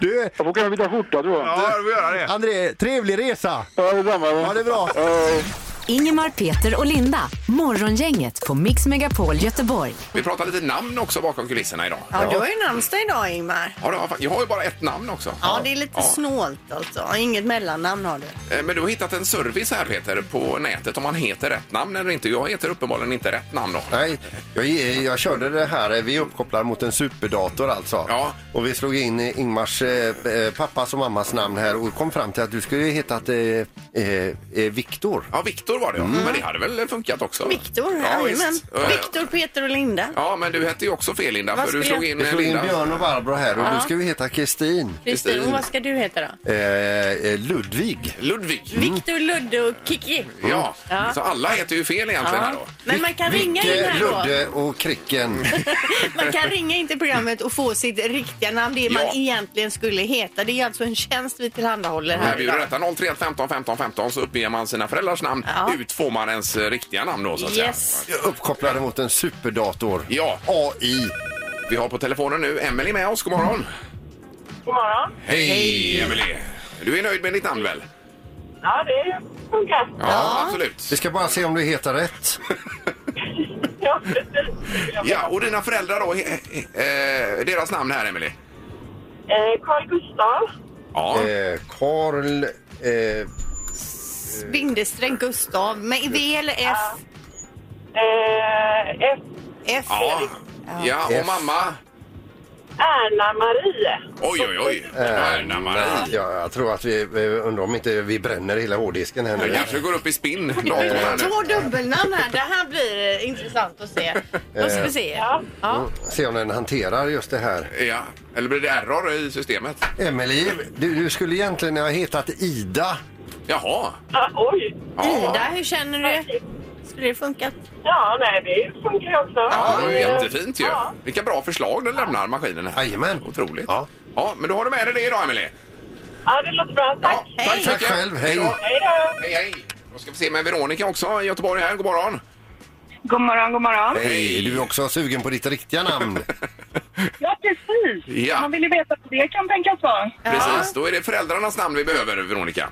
[SPEAKER 4] du,
[SPEAKER 9] Jag får kanske byta skjorta tror jag.
[SPEAKER 2] Ja, du får göra det.
[SPEAKER 4] André, trevlig resa.
[SPEAKER 9] Ja, detsamma.
[SPEAKER 4] Ha det bra.
[SPEAKER 1] Ingemar, Peter och Linda. Morgongänget på Mix Megapol Göteborg.
[SPEAKER 2] Vi pratar lite namn också bakom kulisserna idag.
[SPEAKER 3] Ja, du har ju namnsdag idag Ingmar.
[SPEAKER 2] Ja, det har- jag har ju bara ett namn också.
[SPEAKER 3] Ja, det är lite
[SPEAKER 2] Ja.
[SPEAKER 3] snålt alltså. Inget mellannamn har du.
[SPEAKER 2] Eh, Men du har hittat en service här Peter på nätet om man heter rätt namn eller inte. Jag heter uppenbarligen inte rätt namn då.
[SPEAKER 4] Nej, jag, jag körde det här. eh, Vi är uppkopplade mot en superdator alltså.
[SPEAKER 2] Ja.
[SPEAKER 4] Och vi slog in eh, Ingmars eh, eh, pappas och mammas namn här och kom fram till att du skulle heta eh, eh, eh, Viktor.
[SPEAKER 2] Ja, Viktor var det ja. Men det hade väl funkat också?
[SPEAKER 3] Mm. Viktor,
[SPEAKER 2] ja,
[SPEAKER 3] jajamän.
[SPEAKER 2] visst. Eh,
[SPEAKER 3] Viktor, Peter och Linda.
[SPEAKER 2] Ja, men du hette ju också fel Linda,
[SPEAKER 3] Vad
[SPEAKER 2] för du
[SPEAKER 3] skulle
[SPEAKER 2] slog
[SPEAKER 3] jag-
[SPEAKER 2] in
[SPEAKER 4] Jag slog in
[SPEAKER 2] Linda.
[SPEAKER 4] Björn och Barbro här och
[SPEAKER 3] Ja.
[SPEAKER 4] du ska ju heta Kristin.
[SPEAKER 6] Kristin, vad ska du heta då?
[SPEAKER 4] Eh, eh, Ludvig.
[SPEAKER 2] Ludvig.
[SPEAKER 6] Viktor, Ludde och Kiki.
[SPEAKER 2] Ja, så alla heter ju fel egentligen
[SPEAKER 6] Ja.
[SPEAKER 2] här då.
[SPEAKER 3] Men man kan ringa in
[SPEAKER 4] Micke,
[SPEAKER 3] här då.
[SPEAKER 4] Eh, Ludde och Kricken.
[SPEAKER 3] Man kan ringa in till programmet och få sitt riktiga namn, det man
[SPEAKER 2] Ja.
[SPEAKER 3] egentligen skulle heta. Det är alltså en tjänst vi tillhandahåller
[SPEAKER 2] Här
[SPEAKER 3] här
[SPEAKER 2] bjuder
[SPEAKER 3] idag.
[SPEAKER 2] detta 031 15 15 15 så uppger man sina föräldrars namn. Ut får man ens eh, riktiga namn då så att
[SPEAKER 3] Yes.
[SPEAKER 2] säga.
[SPEAKER 4] Uppkopplade mot en superdator.
[SPEAKER 2] Ja.
[SPEAKER 4] AI.
[SPEAKER 2] Vi har på telefonen nu Emelie med oss. God morgon.
[SPEAKER 7] God morgon.
[SPEAKER 2] Hej, Emelie. Du är nöjd med ditt namn väl?
[SPEAKER 7] Ja, det funkar.
[SPEAKER 2] Ja, absolut.
[SPEAKER 4] Vi ska bara se om du heter rätt.
[SPEAKER 7] Ja, precis.
[SPEAKER 2] Ja, och dina föräldrar då, he- he- eh, deras namn här Emelie?
[SPEAKER 7] Eh, Carl Gustav.
[SPEAKER 2] Ja.
[SPEAKER 4] Eh, Karl... Eh,
[SPEAKER 3] Bindestreck Gustav med V eller F?
[SPEAKER 7] Eh, F.
[SPEAKER 3] F.
[SPEAKER 2] Ja. ja, och
[SPEAKER 4] F.
[SPEAKER 2] mamma?
[SPEAKER 7] Erna-Marie.
[SPEAKER 2] Oj, oj, oj. Erna Marie.
[SPEAKER 4] Ja, jag tror att vi eh, undrar om inte vi bränner hela hårddisken här
[SPEAKER 2] Det
[SPEAKER 4] nu.
[SPEAKER 2] kanske går upp i spinn. datorn här nu.
[SPEAKER 3] Två dubbelnamn här. Det här blir eh, intressant att se. Då ska vi se. Ja.
[SPEAKER 4] Se om den hanterar just det här.
[SPEAKER 2] Ja, eller blir det error i systemet?
[SPEAKER 4] Emelie, du, du skulle egentligen ha hetat Ida.
[SPEAKER 2] Jaha.
[SPEAKER 7] Ah, oj.
[SPEAKER 3] Ida, hur känner du? Skulle det funka?
[SPEAKER 7] Ja, nej, det funkar ju också.
[SPEAKER 2] Ja, det var ju
[SPEAKER 7] Eh,
[SPEAKER 2] jättefint ju.
[SPEAKER 7] Ja.
[SPEAKER 2] Vilka bra förslag den lämnar maskinen här.
[SPEAKER 4] Jajamän.
[SPEAKER 2] Otroligt. Ja.
[SPEAKER 4] Ja.
[SPEAKER 2] men då har du med dig det idag Emelie.
[SPEAKER 7] ja, det låter bra. Tack.
[SPEAKER 4] Tack, tack själv, hej.
[SPEAKER 2] då.
[SPEAKER 7] Hej då.
[SPEAKER 2] Hej, hej. Då ska vi se med Veronica också i Göteborg här. God morgon.
[SPEAKER 7] God morgon, god morgon.
[SPEAKER 4] Hej, du är också sugen på ditt riktiga namn.
[SPEAKER 7] Ja, precis.
[SPEAKER 2] Ja.
[SPEAKER 7] Man vill ju veta vad det kan tänkas vara.
[SPEAKER 2] Precis, då är det föräldrarnas namn vi behöver Veronica.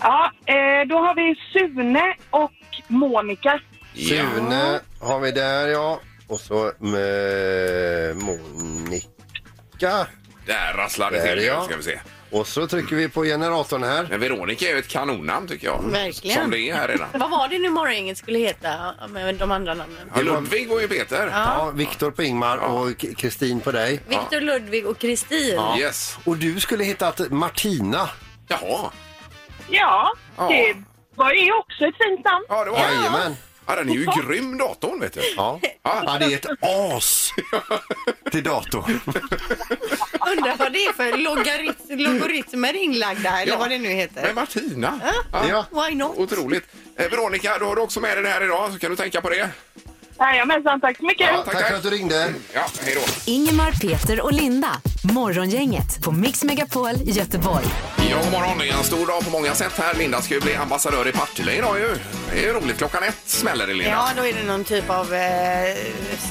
[SPEAKER 7] Ja, eh, då har vi Sune och Monica.
[SPEAKER 2] Ja.
[SPEAKER 4] Sune har vi där, ja. Och så eh, Monica.
[SPEAKER 2] Där rasslade det
[SPEAKER 4] Där
[SPEAKER 2] till.
[SPEAKER 4] är
[SPEAKER 2] Ja.
[SPEAKER 4] jag.
[SPEAKER 2] Ska vi se.
[SPEAKER 4] Och så trycker vi på generatorn här.
[SPEAKER 2] Men Veronica är ju ett kanonnamn tycker jag.
[SPEAKER 3] Verkligen.
[SPEAKER 2] Som det är här redan.
[SPEAKER 3] Vad var det nu morgongänget skulle heta ja, med de andra namnen?
[SPEAKER 2] Ja, Ludvig var ju Peter.
[SPEAKER 4] Ja, Viktor på Ingmar och K- Kristin på dig.
[SPEAKER 6] Viktor, Ludvig och Kristin.
[SPEAKER 2] Yes.
[SPEAKER 4] Och du skulle hetat Martina.
[SPEAKER 2] Jaha.
[SPEAKER 7] Ja,
[SPEAKER 2] Ja.
[SPEAKER 7] det var ju också ett fint namn.
[SPEAKER 2] Ja, det var det.
[SPEAKER 4] Jajamän.
[SPEAKER 2] Ja, den är ju grym datorn vet du.
[SPEAKER 4] Ja.
[SPEAKER 2] Ja.
[SPEAKER 4] ja, det är ett as till datorn.
[SPEAKER 3] Undrar vad det är för logarit- logaritmer inlagda här, eller
[SPEAKER 2] Ja.
[SPEAKER 3] vad det nu
[SPEAKER 2] Men
[SPEAKER 3] heter.
[SPEAKER 2] Martina.
[SPEAKER 4] Ja.
[SPEAKER 3] Why not?
[SPEAKER 2] Otroligt. Eh, Veronica, då har du också med dig det här idag, så kan du tänka på det.
[SPEAKER 7] Jajamensan, tack så mycket.
[SPEAKER 4] Tack för att du ringde.
[SPEAKER 2] Ja, hej då.
[SPEAKER 1] Ingemar, Peter och Linda. Morgongänget på Mix Megapol Göteborg.
[SPEAKER 2] Ja, god morgon. Det är en stor dag på många sätt här. Linda ska ju bli ambassadör i Partille idag ju. Det är ju roligt. Klockan ett smäller det, Linda.
[SPEAKER 3] Ja, då är det någon typ av eh,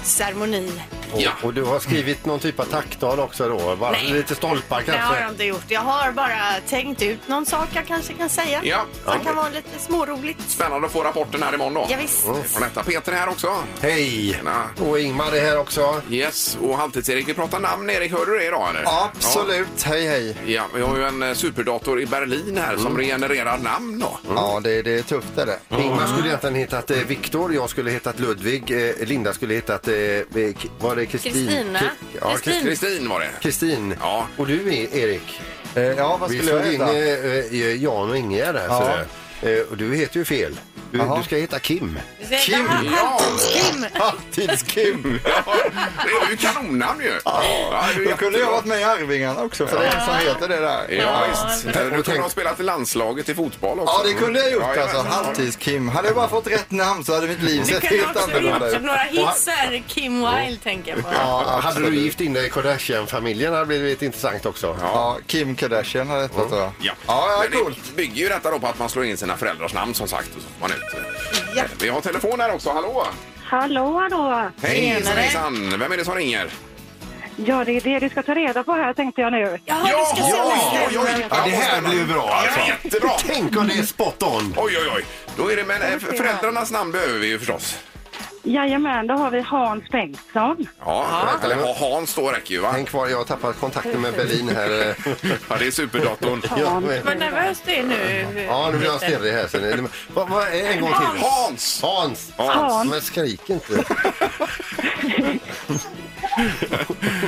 [SPEAKER 3] ceremoni.
[SPEAKER 2] Ja.
[SPEAKER 4] Och, och du har skrivit någon typ av tacktal också då? Bara
[SPEAKER 3] Nej.
[SPEAKER 4] lite stolpar
[SPEAKER 3] Det har
[SPEAKER 4] kanske?
[SPEAKER 3] jag inte gjort. Jag har bara tänkt ut någon sak jag kanske kan säga.
[SPEAKER 2] Ja.
[SPEAKER 3] Som
[SPEAKER 2] Ja.
[SPEAKER 3] kan vara lite småroligt.
[SPEAKER 2] Spännande att få rapporten här imorgon då.
[SPEAKER 3] Ja, visst.
[SPEAKER 2] Från detta. Peter är här också.
[SPEAKER 4] Hej!
[SPEAKER 2] Tjena.
[SPEAKER 4] Och Ingmar är här också.
[SPEAKER 2] Yes, och Halvtids-Erik, vi pratar namn. Erik, hör du det idag eller?
[SPEAKER 5] Absolut, hej hej.
[SPEAKER 2] Ja. Ja, vi har ju en eh, superdator i Berlin här
[SPEAKER 4] Mm.
[SPEAKER 2] som regenererar namn då.
[SPEAKER 5] Ja, det, det är tufft är det.
[SPEAKER 2] Mm.
[SPEAKER 4] Ingmar skulle egentligen hetat eh, Viktor, jag skulle hetat Ludvig, eh, Linda skulle hetat... Eh, eh, K- var det Kristin?
[SPEAKER 6] Kristina.
[SPEAKER 4] K- Ja,
[SPEAKER 6] Kristin.
[SPEAKER 4] Kristin.
[SPEAKER 2] Kristin var det.
[SPEAKER 4] Kristin.
[SPEAKER 2] Ja.
[SPEAKER 4] Och du är Erik.
[SPEAKER 5] Eh, Ja, vad
[SPEAKER 4] Vi
[SPEAKER 5] skulle jag
[SPEAKER 4] slog in eh,
[SPEAKER 5] heta?
[SPEAKER 4] eh, Jan och Ingegerd här.
[SPEAKER 5] Ja.
[SPEAKER 4] sådär. Eh, och du heter ju fel. Du,
[SPEAKER 5] Jaha.
[SPEAKER 4] du ska heta Kim.
[SPEAKER 6] Kim!
[SPEAKER 2] Ja,
[SPEAKER 3] Kim!
[SPEAKER 4] Halvtids-Kim!
[SPEAKER 2] ja, det är ju kanonnamn ju. Ja, det är ju
[SPEAKER 5] Då kunde jag
[SPEAKER 2] jättebra.
[SPEAKER 5] varit med i Arvingarna också, för det är en som heter det där.
[SPEAKER 2] Ja, visst.
[SPEAKER 4] men-
[SPEAKER 2] Du kunde ha spelat i landslaget i fotboll också.
[SPEAKER 5] Ja, det kunde jag gjort
[SPEAKER 2] Ja,
[SPEAKER 5] alltså.
[SPEAKER 2] jajamän.
[SPEAKER 5] Halvtids-Kim. Hade jag bara fått rätt namn så hade mitt liv
[SPEAKER 6] Du
[SPEAKER 5] sett
[SPEAKER 6] kan
[SPEAKER 5] helt
[SPEAKER 6] också
[SPEAKER 5] annorlunda
[SPEAKER 6] gjort
[SPEAKER 5] ut.
[SPEAKER 6] som några hitsar. Kim Wilde tänker jag på.
[SPEAKER 4] Ja, hade du gift in dig i Kardashian-familjen hade det blivit intressant också.
[SPEAKER 5] Ja, Kim Kardashian hade detta tror jag.
[SPEAKER 2] Ja,
[SPEAKER 5] ja,
[SPEAKER 2] Men det
[SPEAKER 5] coolt.
[SPEAKER 2] bygger ju detta då på att man slår in sina föräldrars namn som sagt. Och så får man ut.
[SPEAKER 3] Ja.
[SPEAKER 2] Vi har telefon här också, hallå!
[SPEAKER 7] Hallå, hallå.
[SPEAKER 2] Hej,
[SPEAKER 3] Tjenare.
[SPEAKER 2] hejsan! Vem är det som ringer?
[SPEAKER 7] Ja, det är det du ska ta reda på här tänkte jag nu.
[SPEAKER 6] Ja, du ska säga
[SPEAKER 2] ja,
[SPEAKER 6] bestämma.
[SPEAKER 2] ja, ja,
[SPEAKER 4] Ja, det här blir ju bra alltså.
[SPEAKER 2] Ja, jättebra!
[SPEAKER 4] Tänk om det är spot on!
[SPEAKER 2] Oj, oj, oj. Då är det, men eh, för- föräldrarnas namn behöver vi ju förstås.
[SPEAKER 7] Jajamän, då har vi Hans Bengtsson.
[SPEAKER 2] Ja, eller ha- Hans då räcker ju va?
[SPEAKER 4] Tänk kvar, jag har tappat kontakten med Berlin här.
[SPEAKER 2] Ja, det är superdatorn.
[SPEAKER 4] Ja, men-
[SPEAKER 6] Vad nervös du är nu.
[SPEAKER 4] ja nu blir jag
[SPEAKER 6] Peter.
[SPEAKER 4] stirrig här. Sen. Va, va, en gång till.
[SPEAKER 2] Hans!
[SPEAKER 4] Hans!
[SPEAKER 2] Hans.
[SPEAKER 4] Men skrik inte.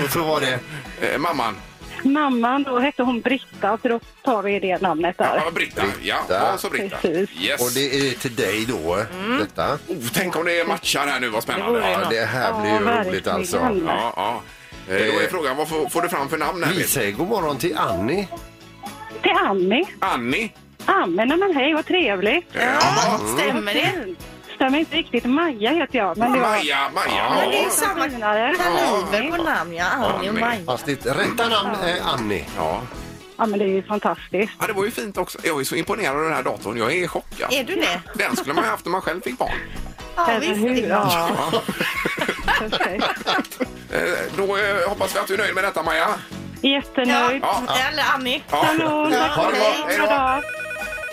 [SPEAKER 4] Och så var det
[SPEAKER 2] Eh, mamman.
[SPEAKER 12] mamman då hette hon Britta, så då tar vi det namnet där.
[SPEAKER 2] Ja, Britta. Ja, ja, så Britta.
[SPEAKER 12] Precis.
[SPEAKER 2] Yes.
[SPEAKER 4] Och det är till dig då, detta.
[SPEAKER 2] Oh, tänk om det matchar här nu, vad spännande.
[SPEAKER 4] Det vore ju något. det här blir ju Mm. Ja, roligt verkligen. alltså.
[SPEAKER 2] Ja, ja. Eh, Då är frågan, vad får, får du fram för namn här?
[SPEAKER 4] Vi säger god morgon till Annie.
[SPEAKER 12] Till Annie.
[SPEAKER 2] Annie?
[SPEAKER 12] Annie, nej men hej, vad trevligt.
[SPEAKER 2] Ja,
[SPEAKER 3] stämmer det?
[SPEAKER 12] Stämmer inte riktigt. Maja heter jag. Men det var...
[SPEAKER 2] Maja, Maja.
[SPEAKER 12] Ja,
[SPEAKER 3] Men det är ju samma
[SPEAKER 12] finare.
[SPEAKER 3] kaliber på namn, ja. Annie och Maja.
[SPEAKER 4] Fast ditt rätta namn är Annie.
[SPEAKER 2] Ja.
[SPEAKER 12] Ja, men det är ju fantastiskt.
[SPEAKER 2] Ja, det var ju fint också. Jag är så imponerad av den här datorn. Jag är chockad.
[SPEAKER 3] Är du det?
[SPEAKER 2] Den skulle man ju haft när man själv fick barn.
[SPEAKER 3] Ja,
[SPEAKER 12] Alltså,
[SPEAKER 3] visst. Ja.
[SPEAKER 2] Eh, Då eh, hoppas vi att du är nöjd med detta, Maja.
[SPEAKER 12] Jättenöjd.
[SPEAKER 2] Ja. Ja.
[SPEAKER 3] Eller Annie.
[SPEAKER 2] Ja.
[SPEAKER 12] Kanon,
[SPEAKER 2] Ja,
[SPEAKER 12] tack
[SPEAKER 2] ha det bra.
[SPEAKER 12] för dig.
[SPEAKER 2] Hej då.
[SPEAKER 12] Bra dag.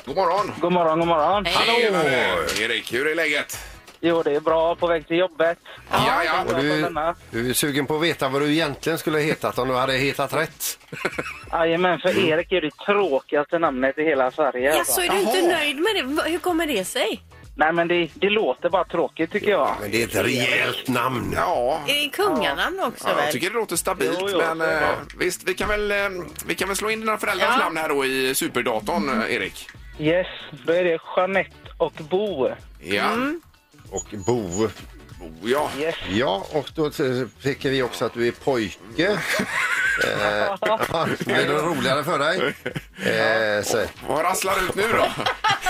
[SPEAKER 2] God morgon.
[SPEAKER 9] God morgon, god morgon.
[SPEAKER 2] Hallå! Erik, hur är läget?
[SPEAKER 9] Jo, det är bra. På väg till jobbet.
[SPEAKER 2] Ja, ja.
[SPEAKER 4] Och du, du är sugen på att veta vad du egentligen skulle ha hetat om du hade hetat rätt.
[SPEAKER 9] Jajamän, för Erik är det tråkigaste namnet i hela Sverige.
[SPEAKER 6] Ja, så är du inte nöjd med det? Va- Hur kommer det sig?
[SPEAKER 9] Nej, men det, det låter bara tråkigt tycker jag.
[SPEAKER 4] Men det är ett rejält namn.
[SPEAKER 2] Ja.
[SPEAKER 6] Är det kunganamn också?
[SPEAKER 2] Ja, jag
[SPEAKER 6] väl?
[SPEAKER 2] tycker det låter stabilt,
[SPEAKER 9] Jo, jo,
[SPEAKER 2] men
[SPEAKER 9] det är
[SPEAKER 2] eh,
[SPEAKER 9] bra.
[SPEAKER 2] visst, vi kan, väl, eh, vi kan väl slå in dina föräldrars
[SPEAKER 6] Ja.
[SPEAKER 2] namn här då i superdatorn, eh, Erik.
[SPEAKER 9] Yes, då är det Jeanette och Bo.
[SPEAKER 2] Ja,
[SPEAKER 4] Och Bo.
[SPEAKER 2] Oh, ja.
[SPEAKER 9] Yes.
[SPEAKER 4] Ja, och då tycker vi också att du är pojke. Eh, blir det roligare för dig? Eh, så,
[SPEAKER 2] Vad rasslar ut nu då?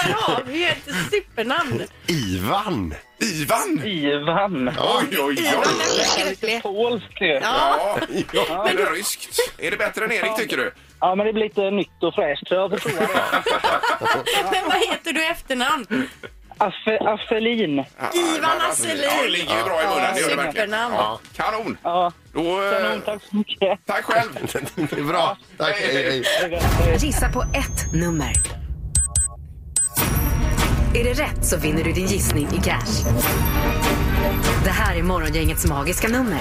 [SPEAKER 6] Ja, vi är ett supernamn.
[SPEAKER 4] Ivan!
[SPEAKER 2] Ivan!
[SPEAKER 9] Ivan.
[SPEAKER 2] Oj, oj, oj!
[SPEAKER 9] Lite polskt ju.
[SPEAKER 2] Ja, ja. Är det ryskt? Är det bättre än Erik, tycker du?
[SPEAKER 9] Ja, men det blir lite nytt och fräscht så jag förstår det.
[SPEAKER 6] Men vad heter du i efternamn?
[SPEAKER 9] Affe, Affelin.
[SPEAKER 6] Ivan
[SPEAKER 2] Asselin!
[SPEAKER 6] Asselin.
[SPEAKER 2] Ja, alltså, det ligger ju bra i munnen. Det gör det verkligen.
[SPEAKER 6] Supernamn.
[SPEAKER 2] Ja. Kanon!
[SPEAKER 9] Ja,
[SPEAKER 2] Då, eh,
[SPEAKER 9] kanon, tack så mycket.
[SPEAKER 2] tack själv!
[SPEAKER 4] Det är bra. Tack, hej, hej.
[SPEAKER 1] Gissa på ett nummer. Är det rätt så vinner du din gissning i cash. Det här är Morgongängets magiska nummer.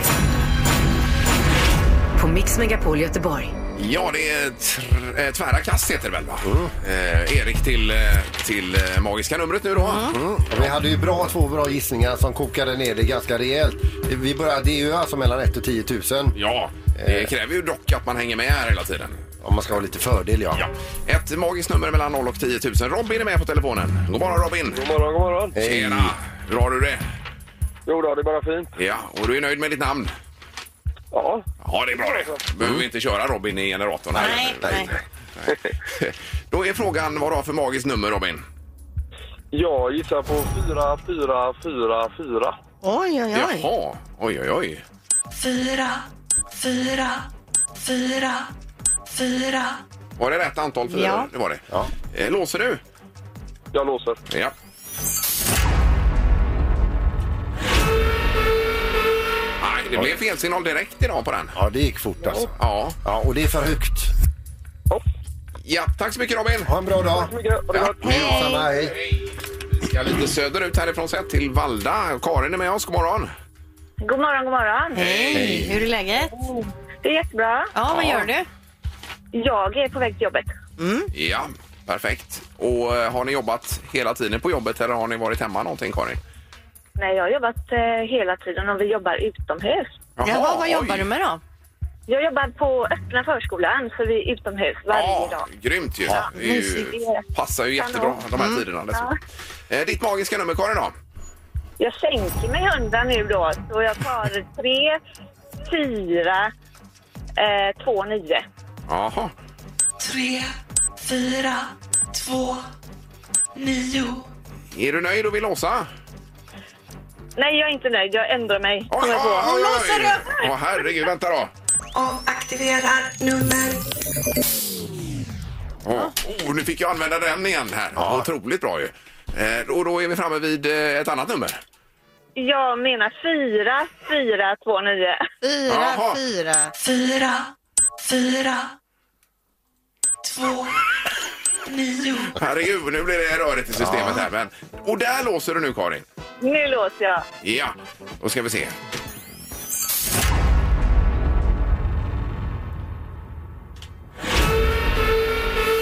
[SPEAKER 1] På Mix Megapol Göteborg.
[SPEAKER 2] Ja, det är tr- eh, tvära kast heter det väl? Va? Eh, Erik till, eh, till eh, magiska numret nu då.
[SPEAKER 4] Vi hade ju bra, två bra gissningar som kokade ner det ganska rejält. Vi började, det är ju alltså mellan 1 och 10 000.
[SPEAKER 2] Ja, det
[SPEAKER 4] Eh.
[SPEAKER 2] kräver ju dock att man hänger med här hela tiden.
[SPEAKER 4] Om man ska ha lite fördel, ja.
[SPEAKER 2] Ja. Ett magiskt nummer mellan 0 och 10 000. Robin är med på telefonen. God morgon Robin!
[SPEAKER 13] God morgon, god morgon.
[SPEAKER 4] Hej.
[SPEAKER 2] Tjena! Hur har du det?
[SPEAKER 13] Jo då, det är bara fint.
[SPEAKER 2] Ja, och du är nöjd med ditt namn?
[SPEAKER 13] Ja.
[SPEAKER 2] Ja, det är bra det. behöver
[SPEAKER 4] Mm.
[SPEAKER 2] vi inte köra Robin i generatorn här.
[SPEAKER 6] Nej, nej.
[SPEAKER 2] nej. Då är frågan vad du har för magiskt nummer Robin.
[SPEAKER 13] Jag gissar på 4, 4, 4, 4.
[SPEAKER 3] Oj, oj, oj.
[SPEAKER 2] Jaha, oj oj oj.
[SPEAKER 10] Fyra, fyra, fyra, fyra.
[SPEAKER 2] Var det rätt antal för
[SPEAKER 3] Ja.
[SPEAKER 2] Det var det.
[SPEAKER 4] Ja.
[SPEAKER 2] Eh, Låser du?
[SPEAKER 13] Jag låser.
[SPEAKER 2] Ja. Nej, det blev felsignal direkt idag på den.
[SPEAKER 4] Ja, det gick fort alltså.
[SPEAKER 2] Ja.
[SPEAKER 4] Ja, och det är för högt.
[SPEAKER 2] ja, tack så mycket Robin.
[SPEAKER 4] Ha en bra dag.
[SPEAKER 13] Tack så mycket. Ha det gott.
[SPEAKER 4] Samma, hej.
[SPEAKER 2] Vi ska lite söderut härifrån sett till Valda. Karin är med oss, god morgon.
[SPEAKER 12] God morgon, god morgon.
[SPEAKER 3] Hej, hur är läget?
[SPEAKER 12] Det är jättebra.
[SPEAKER 3] Ja, vad gör du?
[SPEAKER 12] Jag är på väg till jobbet.
[SPEAKER 2] Ja, perfekt. Och eh, har ni jobbat hela tiden på jobbet eller har ni varit hemma någonting Karin?
[SPEAKER 12] Nej, jag har jobbat eh, hela tiden och vi jobbar utomhus.
[SPEAKER 3] Jaha, vad
[SPEAKER 2] oj.
[SPEAKER 3] jobbar du med då?
[SPEAKER 12] Jag jobbar på öppna förskolan, så vi är utomhus varje
[SPEAKER 2] Ja,
[SPEAKER 12] dag.
[SPEAKER 2] grymt ju. det är ju
[SPEAKER 12] mysigt.
[SPEAKER 2] passar ju jättebra de här tiderna dessutom. Eh, Ditt magiska nummer Karin då?
[SPEAKER 12] Jag sänker mig hundra nu då, så jag tar tre, fyra, eh, två, nio.
[SPEAKER 2] Jaha.
[SPEAKER 10] Tre, fyra, två, nio.
[SPEAKER 2] Är du nöjd och vill låsa?
[SPEAKER 12] Nej, jag är inte nöjd. Jag ändrar mig.
[SPEAKER 2] Oj,
[SPEAKER 12] Kommer
[SPEAKER 2] oj,
[SPEAKER 12] på.
[SPEAKER 2] oj, oj! Åh herregud, vänta då.
[SPEAKER 10] Avaktiverar nummer.
[SPEAKER 2] Åh, Oh, nu fick jag använda den igen här. Otroligt bra ju. Eh, Och då är vi framme vid eh, ett annat nummer.
[SPEAKER 12] Jag menar fyra, fyra, två, nio.
[SPEAKER 3] Fyra,
[SPEAKER 2] Jaha.
[SPEAKER 3] fyra.
[SPEAKER 10] Fyra, fyra, två, nio.
[SPEAKER 2] Herregud, nu blir det rörigt i systemet här. Men, och där låser du nu, Karin.
[SPEAKER 12] Nu låser jag.
[SPEAKER 2] Ja, då ska vi se.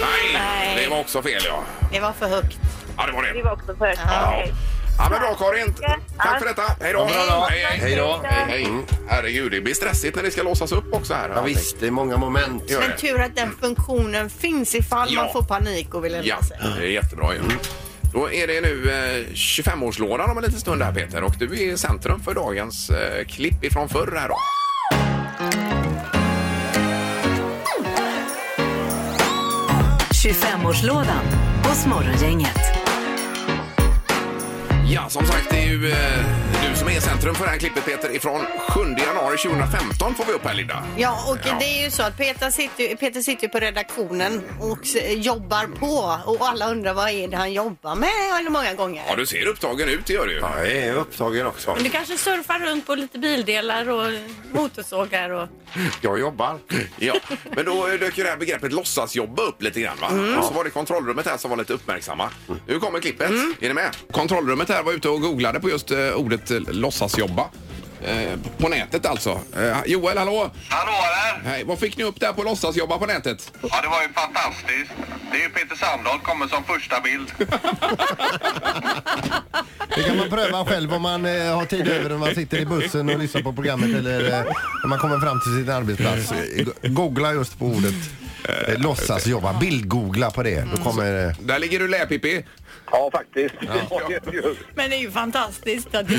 [SPEAKER 2] Nej,
[SPEAKER 3] Nej.
[SPEAKER 2] det var också fel, ja.
[SPEAKER 3] Det var för högt.
[SPEAKER 2] Ja, det var det.
[SPEAKER 12] Det var också för
[SPEAKER 2] Ja. Ja, men bra Karin. Tack för detta. Hej då.
[SPEAKER 4] Ja, bra då.
[SPEAKER 2] Hej, hej.
[SPEAKER 4] Hej då.
[SPEAKER 2] Hej, hej. Herregud, det blir stressigt när det ska låsas upp också här.
[SPEAKER 4] Ja, visst, det är många moment.
[SPEAKER 3] Men tur att den funktionen finns ifall
[SPEAKER 2] Ja.
[SPEAKER 3] man får panik och vill ändra
[SPEAKER 2] Ja,
[SPEAKER 3] sig.
[SPEAKER 2] det är jättebra ju. Då är det nu eh, 25-årslådan om en liten stund här Peter och du är i centrum för dagens eh, klipp ifrån förr här då.
[SPEAKER 1] Mm. 25-årslådan hos Morgongänget.
[SPEAKER 2] Ja, som sagt, det är ju eh, du som är i centrum för det här klippet Peter ifrån 7 januari 2015 får vi upp här Linda.
[SPEAKER 3] Ja, och
[SPEAKER 2] Ja.
[SPEAKER 3] det är ju så att Peter sitter, ju- Peter sitter ju på redaktionen och s- jobbar på och alla undrar vad är det han jobbar med eller många gånger.
[SPEAKER 2] Ja, du ser upptagen ut, det gör du ju.
[SPEAKER 4] Ja, jag är upptagen också.
[SPEAKER 6] Men du kanske surfar runt på lite bildelar och motorsågar och...
[SPEAKER 4] Jag jobbar.
[SPEAKER 2] Ja, men då dök ju det här begreppet låtsasjobba upp lite grann. Va?
[SPEAKER 4] Mm.
[SPEAKER 2] Och så var det kontrollrummet här som var lite uppmärksamma. Nu kommer klippet.
[SPEAKER 4] Mm.
[SPEAKER 2] Är ni med? Kontrollrummet här var ute och googlade på just eh, ordet eh, låtsasjobba. Eh, på nätet alltså. Eh, Joel, hallå?
[SPEAKER 14] Hallå där!
[SPEAKER 2] Hej, vad fick ni upp där på låtsasjobba på nätet?
[SPEAKER 14] Ja, det var ju fantastiskt. Det är ju Peter Sandahl kommer som första bild.
[SPEAKER 15] Det kan man pröva själv om man eh, har tid över när man sitter i bussen och lyssnar på programmet eller eh, när man kommer fram till sin arbetsplats.
[SPEAKER 2] Mm.
[SPEAKER 15] Go- Googla just på ordet eh, låtsas jobba. Bildgoogla på
[SPEAKER 2] Mm.
[SPEAKER 15] det. Då kommer eh,
[SPEAKER 2] Där ligger du lä, Pippi.
[SPEAKER 14] Ja, faktiskt.
[SPEAKER 6] Men det är ju fantastiskt. Att...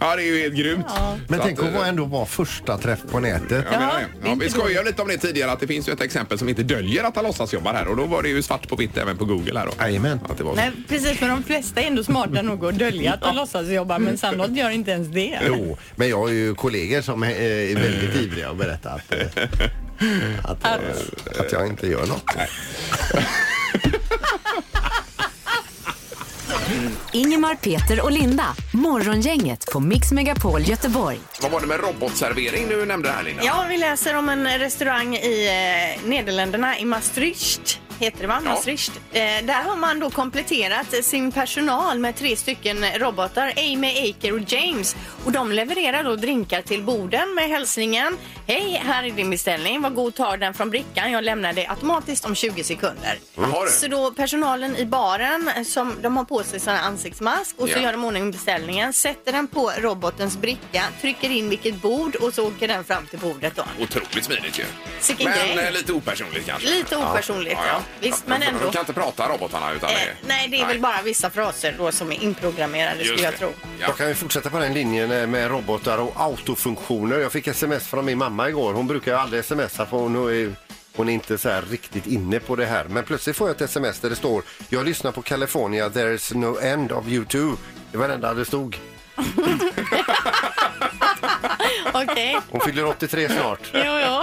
[SPEAKER 2] Ja, det är ju helt grymt.
[SPEAKER 15] Men
[SPEAKER 2] Så
[SPEAKER 15] tänk
[SPEAKER 2] att,
[SPEAKER 15] att vara ändå vara första träff på nätet.
[SPEAKER 2] Jag menar det. Ja, vi skojade lite om det tidigare att det finns ju ett exempel som inte döljer att han låtsasjobbar här och då var det ju svart på vitt även på Google här då.
[SPEAKER 15] Jajamän.
[SPEAKER 2] Att det var så.
[SPEAKER 6] Nej, precis. Men de flesta är ändå smarta nog att dölja att de låtsas jobba men Sandahl gör inte ens det.
[SPEAKER 15] Jo, men jag har ju kollegor som eh, är väldigt ivriga att berätta att, eh, att, eh, att jag inte gör något.
[SPEAKER 1] Ingemar, Peter och Linda. Morgongänget på Mix Megapol Göteborg.
[SPEAKER 2] Vad var det med robotservering du nämnde här Linda?
[SPEAKER 3] Ja, vi läser om en restaurang i eh, Nederländerna, i Maastricht. Heter det va? Maastricht. Eh, där har man då kompletterat sin personal med tre stycken robotar, Amy, Aker och James. Och de levererar då drinkar till borden med hälsningen. Hej, här är din beställning. Var god ta den från brickan. Jag lämnar dig automatiskt om 20 sekunder.
[SPEAKER 2] Jaha, du.
[SPEAKER 3] Så då personalen i baren, eh, som, de har på sig sån här ansiktsmask och så
[SPEAKER 2] Ja.
[SPEAKER 3] gör de i ordning beställningen, sätter den på robotens bricka, trycker in vilket bord och så åker den fram till bordet då. Eh,
[SPEAKER 2] Otroligt smidigt ju.
[SPEAKER 3] Sicken
[SPEAKER 2] Men
[SPEAKER 3] grej.
[SPEAKER 2] eh, lite opersonligt kanske.
[SPEAKER 3] Lite opersonligt, ja. Visst, men ändå. Eh,
[SPEAKER 2] De kan inte prata robotarna utan det...
[SPEAKER 3] Nej, det är väl bara vissa fraser då som är inprogrammerade skulle jag tro.
[SPEAKER 4] Jag kan ju fortsätta på den linjen eh, med robotar och autofunktioner. Jag fick sms från min mamma igår. Hon brukar ju aldrig smsa för hon är, hon är inte så här riktigt inne på det här. Men plötsligt får jag ett sms där det står Jag lyssnar på California, there's no end of you too. Det var det enda det stod.
[SPEAKER 3] Okej.
[SPEAKER 4] Hon fyller 83 snart.
[SPEAKER 3] Jo, jo.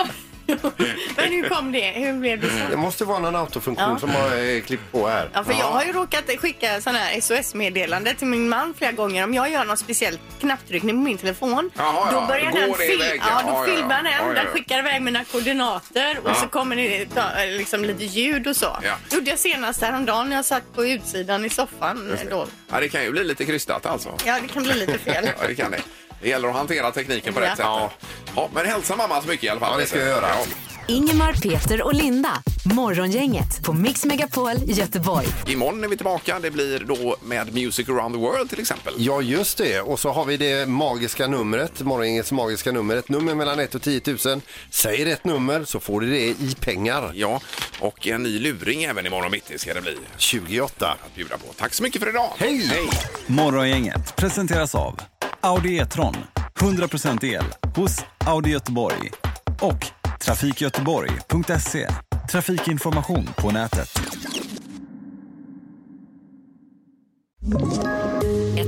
[SPEAKER 3] Men hur kom det? Hur blev det
[SPEAKER 4] Det
[SPEAKER 3] så?
[SPEAKER 4] måste vara någon autofunktion
[SPEAKER 3] Ja.
[SPEAKER 4] som har eh, klippt på här.
[SPEAKER 3] Ja, för jag har ju råkat skicka sådana här SOS-meddelande till min man flera gånger. Om jag gör någon speciell knapptryckning på min telefon,
[SPEAKER 6] Jaha,
[SPEAKER 3] då
[SPEAKER 6] ja.
[SPEAKER 3] börjar
[SPEAKER 6] Går
[SPEAKER 3] den
[SPEAKER 6] det
[SPEAKER 3] fil-
[SPEAKER 6] iväg?
[SPEAKER 3] ja, då
[SPEAKER 6] Ja, ja,
[SPEAKER 3] filmar
[SPEAKER 6] ja.
[SPEAKER 3] den,
[SPEAKER 6] Ja, ja, ja.
[SPEAKER 3] den skickar iväg mina koordinater och
[SPEAKER 6] Ja.
[SPEAKER 3] så kommer det ta, eh, liksom lite ljud och så.
[SPEAKER 2] Ja.
[SPEAKER 3] gjorde jag senast häromdagen när jag satt på utsidan i soffan.
[SPEAKER 2] Just det.
[SPEAKER 3] Då.
[SPEAKER 2] Ja, det kan ju bli lite krystat alltså.
[SPEAKER 3] Ja, det kan bli lite fel.
[SPEAKER 2] ja, det kan det. Det gäller att hantera tekniken på
[SPEAKER 3] Ja.
[SPEAKER 2] rätt sätt. Ja. men hälsa mamma så mycket i alla fall.
[SPEAKER 4] Ja, det ska jag
[SPEAKER 2] Peter.
[SPEAKER 4] göra.
[SPEAKER 1] Ingemar, Peter och Linda. Morgongänget på Mix Megapol Göteborg.
[SPEAKER 2] Imorgon är vi tillbaka. Det blir då med Music around the world till exempel.
[SPEAKER 4] Ja, just det. Och så har vi det magiska numret, morgongängets magiska nummer. Ett nummer mellan 1 och 10 000. Säg rätt nummer så får du det i pengar.
[SPEAKER 2] Ja, och en ny luring även imorgon mitt i ska det bli.
[SPEAKER 4] 28.
[SPEAKER 2] Att bjuda på. Tack så mycket för idag. Hej!
[SPEAKER 16] Morgongänget presenteras av Audi E-tron. 100% el hos Audi Göteborg. Och trafikgöteborg.se. Trafikinformation på nätet.